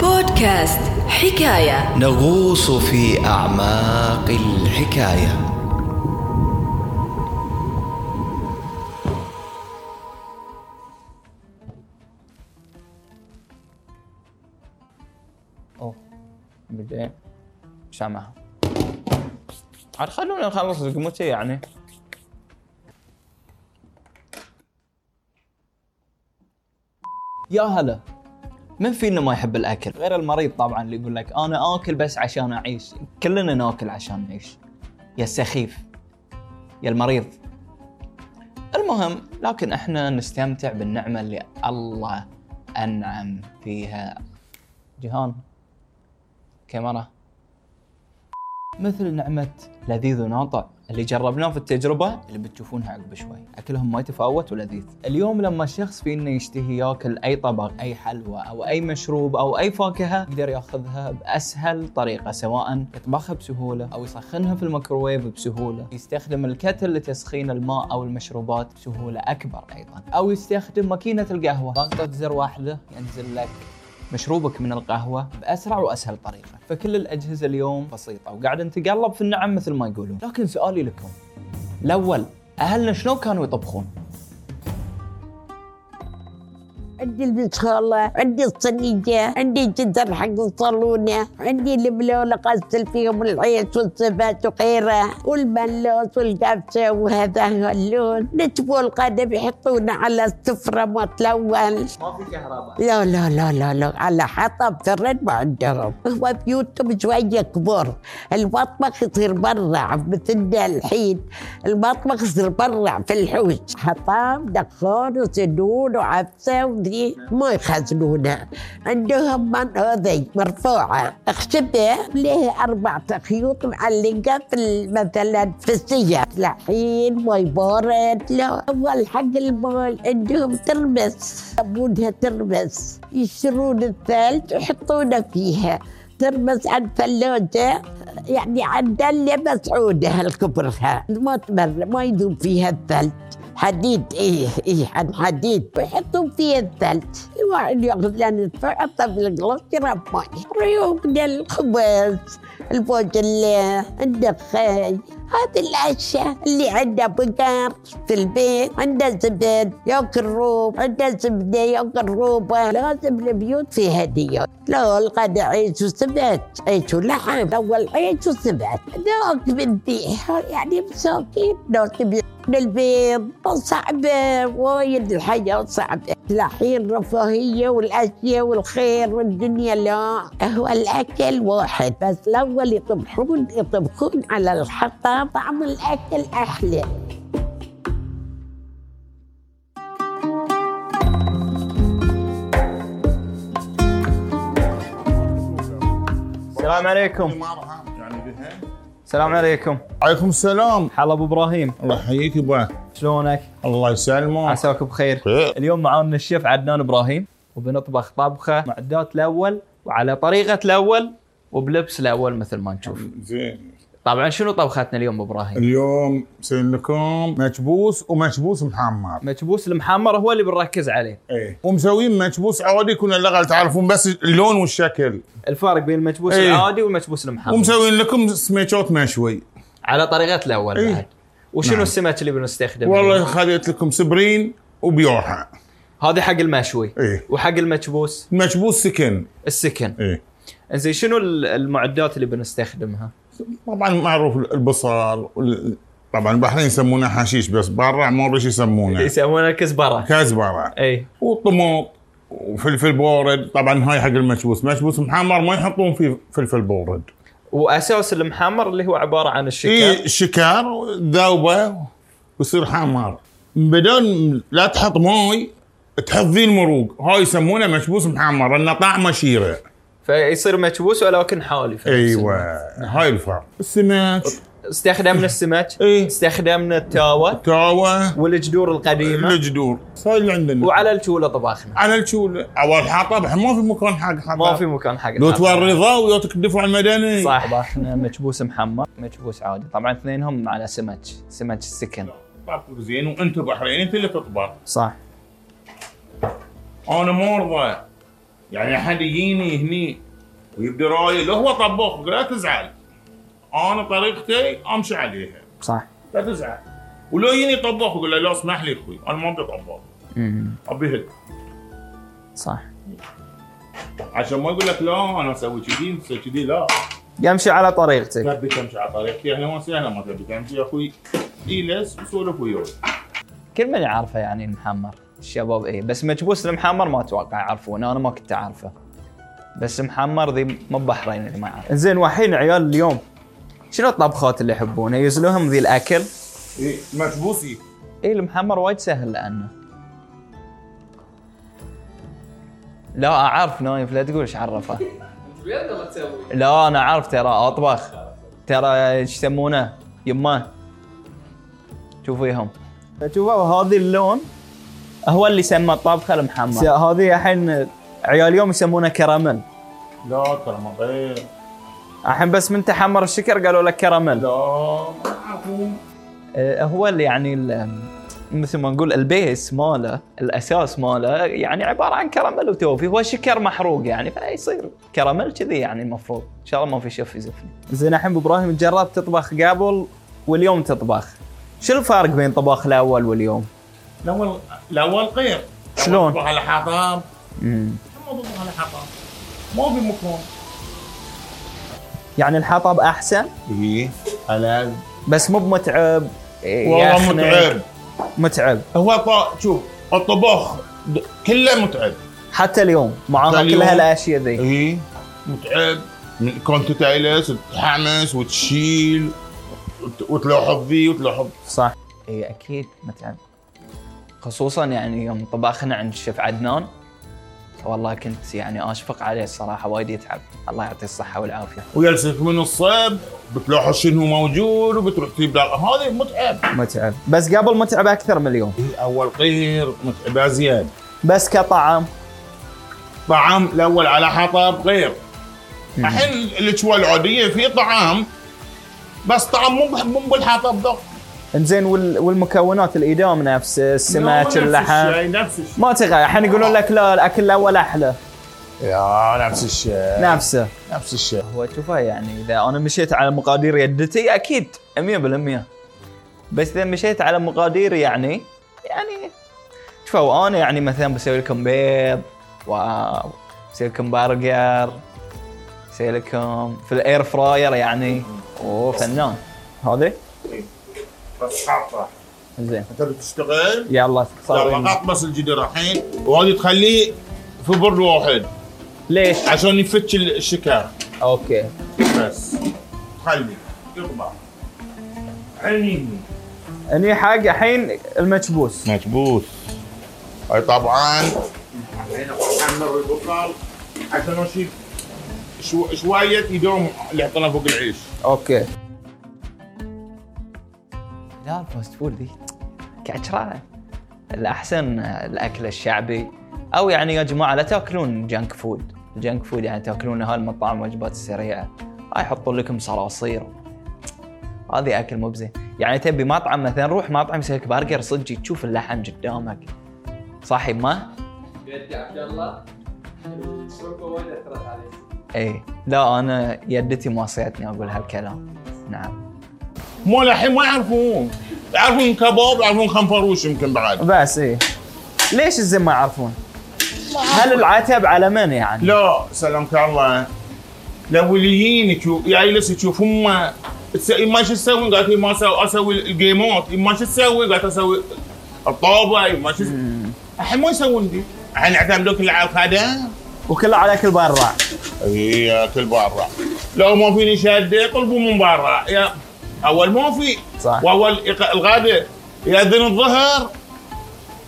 بودكاست حكاية نغوص في اعماق الحكايه اوه بعدين سامعها عاد خلونا نخلص قمتي يعني يا هلا من فينا ما يحب الاكل غير المريض طبعا اللي يقول لك انا اكل بس عشان اعيش كلنا ناكل عشان نعيش يا السخيف يا المريض المهم لكن احنا نستمتع بالنعمه اللي الله انعم فيها جهان كاميرا مثل نعمة لذيذ وناطع اللي جربناه في التجربة اللي بتشوفونها عقب شوي أكلهم ما يتفاوت ولذيذ اليوم لما الشخص فينا يشتهي ياكل أي طبق أي حلوى أو أي مشروب أو أي فاكهة يقدر ياخذها بأسهل طريقة سواء يطبخها بسهولة أو يسخنها في الميكروويف بسهولة يستخدم الكتل لتسخين الماء أو المشروبات بسهولة أكبر أيضا أو يستخدم ماكينة القهوة ضغطة زر واحدة ينزل لك مشروبك من القهوة بأسرع وأسهل طريقة فكل الأجهزة اليوم بسيطة وقاعدة نتقلب في النعم مثل ما يقولون لكن سؤالي لكم الأول أهلنا شنو كانوا يطبخون؟ عندي البسخولة عندي الصنيجة عندي الجدر حق الصالونة عندي الملولقة أغسل فيهم العيش والصفات وغيره والملوس والقفشة وهذا اللون نتبوا القدم يحطونه على السفرة ما تلون ما في كهرباء لا لا لا لا لا على حطب فرن ما عندهم هو بيوتهم شوية كبر المطبخ يصير برع مثلنا الحين المطبخ يصير برع في الحوش حطام دخان وسنون وعفسة وذي ما يخزنونه عندهم من هذي مرفوعة خشبة لها أربع خيوط معلقة في ال- مثلا في السيارة لحين ما يبارد لا أول حق المال عندهم ترمس يسمونها ترمس يشترون الثلج ويحطونه فيها ترمس عن ثلاجة يعني عن دلة مسعودة الكبرها ما تمر ما يدوم فيها الثلج حديد ايه ايه عن حديد ويحطون فيها الثلج الواحد ياخذ لنا يحطه في القلاص يشرب ماي ريوقنا الخبز البوجلة النخاي هذه الاشياء اللي عندنا بقر في البيت عندنا زبد ياكل روب عندنا زبده ياكل روبه لازم البيوت فيها ديوت لا الغد عيش وسبت عيش ولحم اول عيش وسبت ذاك من ذي يعني مساكين ناس من البيض صعبة وايد الحياة صعبة الحين رفاهية والأشياء والخير والدنيا لا هو الأكل واحد بس الأول يطبخون يطبخون على الحطب طعم الأكل أحلى السلام عليكم السلام عليكم عليكم السلام حلا ابو ابراهيم الله يحييك يبا شلونك الله يسلمك عساك آه. بخير اليوم معانا الشيف عدنان ابراهيم وبنطبخ طبخه معدات الاول وعلى طريقه الاول وبلبس الاول مثل ما نشوف زين طبعا شنو طبختنا اليوم أبو ابراهيم اليوم مسوين لكم مكبوس ومكبوس محمر مكبوس المحمر هو اللي بنركز عليه ايه ومسوين مكبوس عادي كنا اللغة تعرفون بس اللون والشكل الفرق بين المكبوس إيه. العادي والمكبوس المحمر ومسوين لكم سميكوت مشوي على طريقه الاول إيه. بعد وشنو نعم. السمك اللي بنستخدمه والله خذيت لكم سبرين وبيوحة هذه حق المشوي إيه. وحق المكبوس مكبوس سكن السكن ايه انزين شنو ال- المعدات اللي بنستخدمها؟ طبعا معروف البصل وال- طبعا البحرين يسمونه حشيش بس برا موريش إيه. يسمونه يسمونها إيه. كزبره كزبره اي وطماط وفلفل بورد طبعا هاي حق المكبوس مكبوس محمر ما يحطون فيه فلفل بورد واساس المحمر اللي هو عباره عن الشكر اي شكار ذوبه إيه، ويصير حمار بدون لا تحط موي تحط ذي المروق هاي يسمونه مكبوس محمر لان طعمه شيره فيصير مكبوس ولكن حالي في نفس ايوه الوقت. هاي الفرق السمك استخدمنا السمك إيه. استخدمنا التاوه تاوة والجدور القديمه الجدور هاي اللي عندنا وعلى الشوله طبخنا على الشول اول حاطه بح- ما في مكان حق حاطه ما في مكان حق لو الحرب. تورطه ويا تكدفوا على المدني صح طبخنا مكبوس محمر مكبوس عادي طبعا اثنينهم على سمك سمك السكن طبخوا زين وانتم بحريني انت اللي تطبخ صح انا ما ارضى يعني احد يجيني هني ويبدي رايي لو هو طباخ لا تزعل انا طريقتي امشي عليها صح لا تزعل ولو يجيني طباخ يقول له لا اسمح لي اخوي انا ما ابي طباخ ابي هيك صح عشان ما يقول لك لا انا اسوي كذي انت تسوي كذي لا يمشي على طريقتك تبي تمشي على طريقتي اهلا وسهلا ما تبي تمشي يا اخوي اجلس وسولف وياي كل من يعرفه يعني المحمر الشباب ايه بس مكبوس المحمر ما اتوقع يعرفونه انا ما كنت اعرفه بس محمر ذي مو بحرين اللي ما يعرف زين وحين عيال اليوم شنو الطبخات اللي يحبونه يزلوهم ذي الاكل إيه، مكبوسي اي إيه المحمر وايد سهل لانه لا اعرف نايف لا تقول ايش عرفه لا انا اعرف ترى اطبخ ترى ايش يسمونه يمه شوفيهم شوفوا هذا اللون هو اللي سمى الطبخه المحمر هذه الحين عيال اليوم يسمونه كراميل لا ترى ما غير الحين بس من تحمر الشكر قالوا لك كراميل لا ما أعرفه. آه، هو اللي يعني ال- مثل ما نقول البيس ماله الاساس ماله يعني عباره عن كراميل وتوفي هو شكر محروق يعني فيصير كراميل كذي يعني المفروض ان شاء الله ما في شيف يزفني. زين الحين ابو ابراهيم جربت تطبخ قبل واليوم تطبخ. شو الفرق بين طباخ الاول واليوم؟ الاول الاول غير شلون؟ طبخ على حطام امم ما طبخ على حطام ما في مكان يعني الحطب احسن ايه على بس مو بمتعب والله يخنق، متعب متعب هو طا... شوف الطبخ د- كله متعب حتى اليوم مع حتى كل اليوم. هالاشياء ذي ايه متعب من- كنت تجلس وتحمس وتشيل وت- وتلوحظ فيه وتلوحظ صح اي اكيد متعب خصوصا يعني يوم طبخنا عند الشيف عدنان والله كنت يعني اشفق عليه الصراحه وايد يتعب الله يعطيه الصحه والعافيه ويلسك من الصيب بتلوحظ شنو موجود وبتروح تجيب لا- هذا متعب متعب بس قبل متعب اكثر من اليوم اول غير متعب ازيد بس كطعم طعام الاول على حطب غير الحين الاشواء العاديه في طعام بس طعم مو بح- مو بالحطب ذا انزين وال- والمكونات الادام نفس السمك اللحم نفس الشيء ما تغير الحين يقولون لك لا الاكل الاول احلى يا نفس الشيء نفسه نفس الشيء هو تشوفه يعني اذا انا مشيت على مقادير يدتي اكيد 100% بس اذا مشيت على مقادير يعني يعني شوفوا انا يعني مثلا بسوي لكم بيض واو بسوي لكم برجر بسوي لكم في الاير فراير يعني اوه فنان هذا بس حطه زين انت بتشتغل يلا يلا صار حط بس الجدر الحين وهذه تخليه في بر واحد ليش؟ عشان يفتش الشكر اوكي بس خليه يطبع حليني اني حق الحين المكبوس مكبوس اي طبعا حمر البصل عشان اشيل شو شويه يدوم اللي حطيناه فوق العيش اوكي لا الفاست فود دي كعشرة الأحسن الأكل الشعبي أو يعني يا جماعة لا تاكلون جنك فود الجنك فود يعني تاكلون هالمطاعم وجبات السريعة هاي يحطون لكم صراصير هذه أكل مو بزين يعني تبي مطعم مثلا روح مطعم يسوي لك برجر صدقي تشوف اللحم قدامك صاحي ما؟ اي إيه. لا انا يدتي ما صيتني اقول هالكلام نعم مو الحين ما يعرفون يعرفون كباب يعرفون خنفروش يمكن بعد بس اي ليش الزين ما يعرفون؟ هل العتب على من يعني؟ لا سلامك الله لو اللي يجيني تشوف يجلس تشوف هم تس- ما شو تسوي قالت لي ما اسوي اسوي الجيمات ما شو تسوي قالت اسوي الطابه ما شو الحين ما يسوون دي الحين يعتمدوك اللي على الخدم وكله على اكل برا هي كل برا لو ما فيني شهاده يطلبوا من برا يا اول ما في صح. واول يق- الغداء ياذن الظهر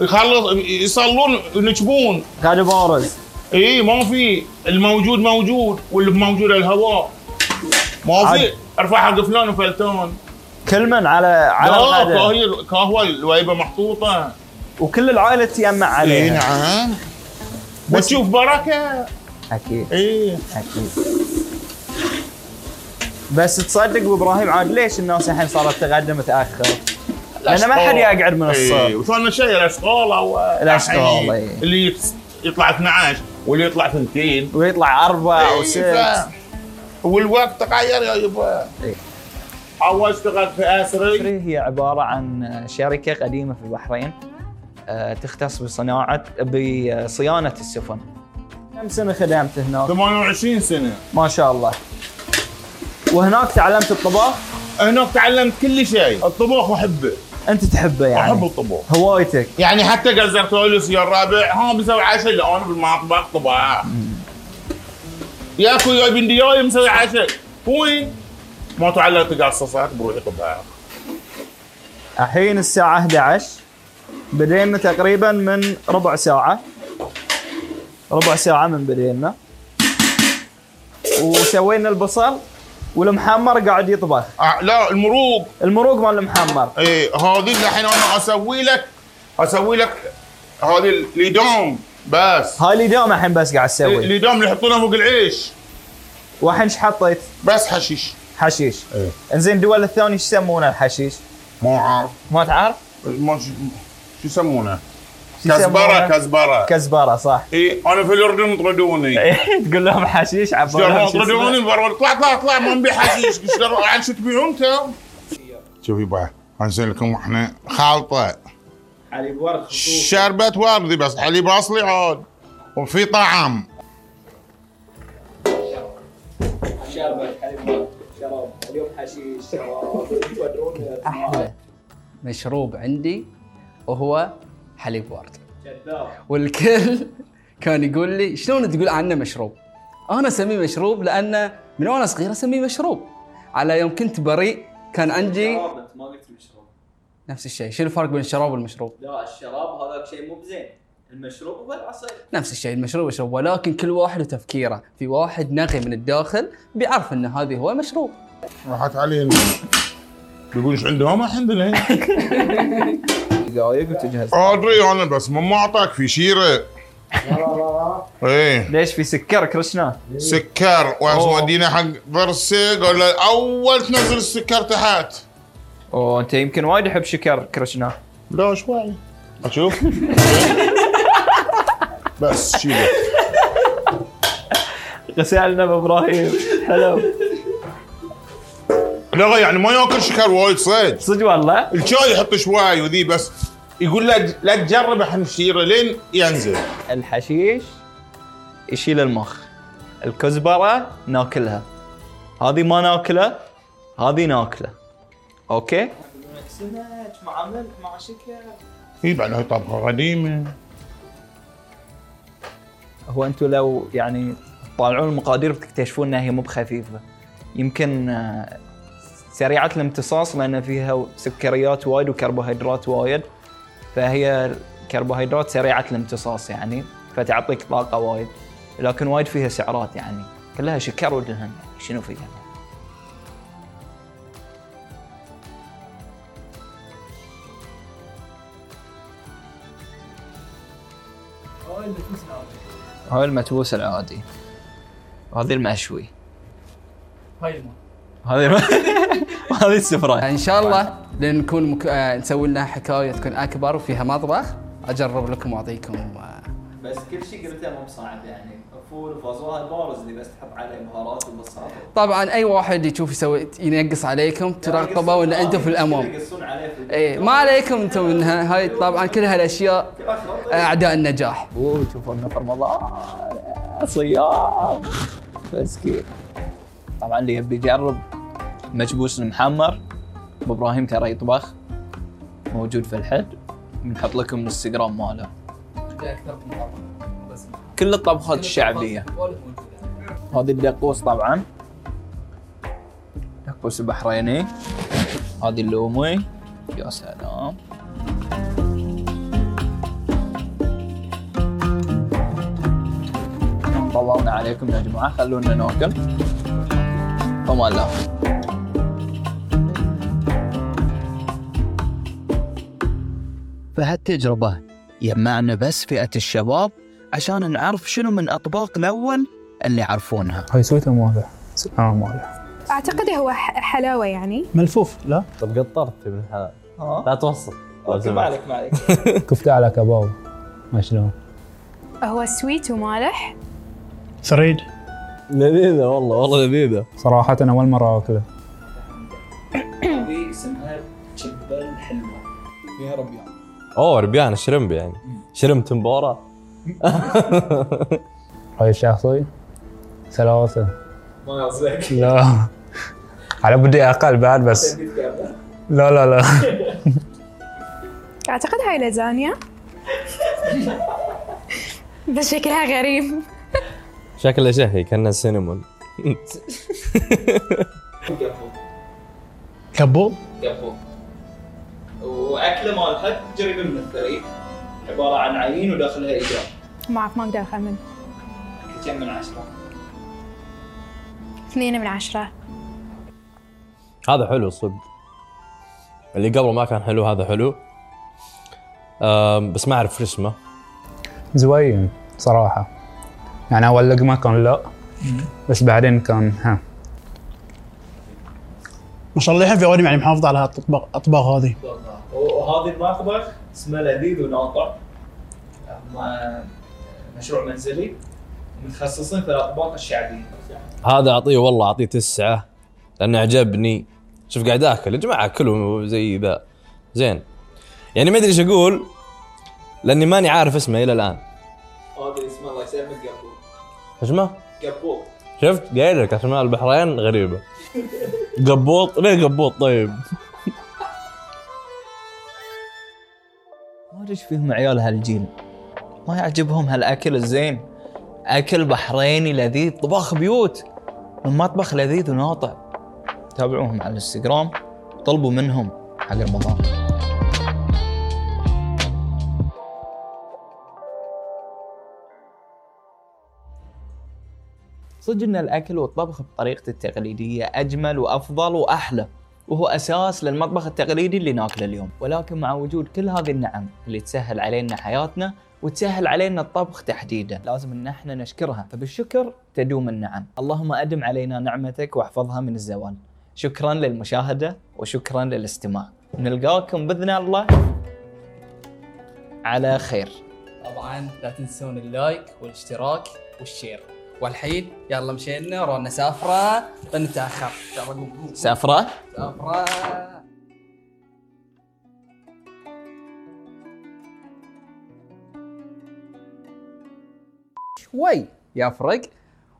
يخلص يصلون ينشبون غالي بارز اي ما في الموجود موجود واللي موجود الهواء ما في عاد. ارفع حق فلان وفلتان كل من على على لا الغداء كاهية كهوة الويبة محطوطة وكل العائله تجمع اي عليها نعم وتشوف بركة اكيد اي اكيد بس تصدق وابراهيم عاد ليش الناس الحين صارت تغدى متاخر؟ لان ما حد يقعد من اي الصبح وصار إيه، شيء الاشغال او الأشغال، إي. اللي يتس- يطلع 12 واللي يطلع ثنتين ويطلع اربع إي، وست ف- والوقت تغير يا يبا إي. اول اشتغلت في اسري هي عبارة عن شركة قديمة في البحرين آه، تختص بصناعة بصيانة السفن كم سنة خدمت هناك 28 سنه ما شاء الله وهناك تعلمت الطباخ هناك تعلمت كل شيء الطبخ احبه انت تحبه يعني احب الطبخ هوايتك يعني حتى قزرت لي يا الرابع ها بسوي عشاء لا انا بالمطبخ طباخ ياكل يا بنت جاي مسوي عشاء وين ما تعلمت قصصات بروحي طباخ الحين الساعة 11 بدينا تقريبا من ربع ساعة ربع ساعة من بدينا وسوينا البصل والمحمر قاعد يطبخ آه، لا المروق المروق مال المحمر ايه هذه اللي الحين انا اسوي لك اسوي لك هذه الليدوم بس هاي اللي دوم الحين بس قاعد تسوي الليدوم اللي يحطونها فوق العيش والحين ايش حطيت؟ بس حشيش حشيش إيه. انزين دول الثاني ايش يسمونه الحشيش؟ ما عارف ما تعرف؟ ما شو شو يسمونه؟ شو يسمونه؟ كزبره كزبره كزبره صح اي انا في الاردن مطردوني تقول لهم حشيش شلون عبالهم إيه، شو اسمه؟ مطردوني برا طلع طلع طلع ما نبي حشيش شلون عن شو تبيعون انتم؟ شوفي بقى انزل لكم احنا خالطه حليب ورد شربت وردي بس حليب اصلي عاد وفي طعم شربت حليب ورد شراب اليوم حشيش شراب يودرون احلى مشروب عندي وهو حليب ورد والكل كان يقول لي شلون تقول عنه مشروب انا اسميه مشروب لانه من وانا صغير اسميه مشروب على يوم كنت بريء كان عندي ما قلت مشروب نفس الشيء شنو الفرق بين الشراب والمشروب لا الشراب هذاك شيء مو بزين المشروب هو العصير نفس الشيء المشروب مشروب ولكن كل واحد وتفكيره في واحد نقي من الداخل بيعرف ان هذه هو مشروب راحت علينا بيقول ايش عندهم عندنا دقايق وتجهز ادري انا يعني، بس ما اعطاك في شيره ايه ليش في سكر كرشنا سكر وانس أوه. مودينا حق ضرسي قال له اول تنزل السكر تحت اوه انت يمكن وايد يحب شكر كرشنا لا شوي اشوف بس شيله غسالنا بابراهيم حلو لا يعني ما ياكل شكر وايد صيد صدق والله الشاي يحط شوي وذي بس يقول لا لا تجرب احنا شيره لين ينزل الحشيش يشيل المخ الكزبرة ناكلها هذه ما ناكله هذه ناكله اوكي سمك مع ملح مع شكر اي بعد هاي طبخه قديمه هو انتم لو يعني تطالعون المقادير بتكتشفون انها هي مو بخفيفه يمكن آه، سريعه الامتصاص لان فيها سكريات وايد وكربوهيدرات وايد فهي كربوهيدرات سريعه الامتصاص يعني فتعطيك طاقه وايد لكن وايد فيها سعرات يعني كلها شكر ودهن شنو فيها؟ هاي المتبوس العادي وهذه المشوي هاي هذه هذه السفرة ان شاء الله لنكون مك... آه، نسوي لنا حكايه تكون اكبر وفيها مطبخ اجرب لكم واعطيكم آه، بس كل شيء قلته مو بصعب يعني فول وفاصوليا البارز اللي بس تحط عليه بهارات وبصل طبعا اي واحد يشوف يسوي ينقص عليكم تراقبه وان انتم في الامام يقصون عليه في اي إيه، ما عليكم انتم منها هاي طبعا كل هالاشياء آه، اعداء النجاح وشوفوا لنا في رمضان صيام آه، مسكين طبعا اللي يبي يجرب مجبوس المحمر أبو ابراهيم ترى يطبخ موجود في الحد بنحط لكم الانستغرام ماله كل الطبخات الشعبيه هذه الدقوس طبعا دقوس البحريني هذه اللومي يا سلام طولنا عليكم يا جماعه خلونا ناكل فما لا فهالتجربة يجمعنا بس فئة الشباب عشان نعرف شنو من أطباق الأول اللي يعرفونها هاي سويته مالح اه مالح اعتقد هو ح- حلاوه يعني ملفوف لا طب قطرت من الحلال ها لا توصل اوكي آه. ما عليك ما عليك كفته على كباب ما شلون هو سويت ومالح سريد لذيذه والله والله لذيذه صراحة أنا أول مرة أكله هذه اسمها جبل حلوة فيها ربيان اوه ربيان شرمب يعني شرمب تمبورا رأيي الشخصي ثلاثة ما قصدك لا على بدي أقل بعد بس لا لا لا اعتقد هاي لازانيا بس شكلها غريب شكله شهي كانه سينمون كبو قبل واكله مال حد قريب من الثري عباره عن عيين وداخلها ايجار ما اعرف ما اقدر اخمن كم من عشره؟ اثنين من عشره هذا حلو صدق اللي قبله ما كان حلو هذا حلو أم، بس ما اعرف شو اسمه زوين صراحة يعني أول لقمة كان لا بس بعدين كان ها مصلحة في عودي يعني محافظة على الأطباق أطباق هذه وهذه المطبخ اسمه لذيذ وناطع هم مشروع منزلي متخصصين في الاطباق الشعبيه هذا اعطيه والله اعطيه تسعه لانه عجبني شوف قاعد اكل يا جماعه كلوا زي ذا زين يعني ما ادري ايش اقول لاني ماني عارف اسمه الى الان هذا اسمه الله يسلمك قبول اسمه قبول شفت قايل لك اسماء البحرين غريبه قبوط ليه قبوط طيب ما ادري ايش فيهم عيال هالجيل ما يعجبهم هالاكل الزين اكل بحريني لذيذ طباخ بيوت المطبخ لذيذ وناطع تابعوهم على الانستغرام طلبوا منهم حق رمضان صدق ان الاكل والطبخ بطريقته التقليديه اجمل وافضل واحلى وهو اساس للمطبخ التقليدي اللي ناكله اليوم، ولكن مع وجود كل هذه النعم اللي تسهل علينا حياتنا وتسهل علينا الطبخ تحديدا، لازم ان احنا نشكرها، فبالشكر تدوم النعم، اللهم ادم علينا نعمتك واحفظها من الزوال. شكرا للمشاهده وشكرا للاستماع. نلقاكم باذن الله على خير. طبعا لا تنسون اللايك والاشتراك والشير والحين يلا مشينا رونا سافره بنتاخر يلا قوم سفره سافره شوي يفرق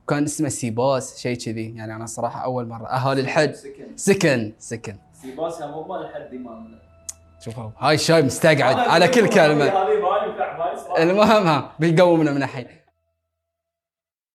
وكان اسمه سيباس شيء كذي يعني انا صراحه اول مره اهالي الحج سكن سكن سيباسها مو مال الحد مالنا شوفوا هاي الشاي مستقعد على كل كلمه هذه بالي وتعبان المهم ها بيقومنا من الحين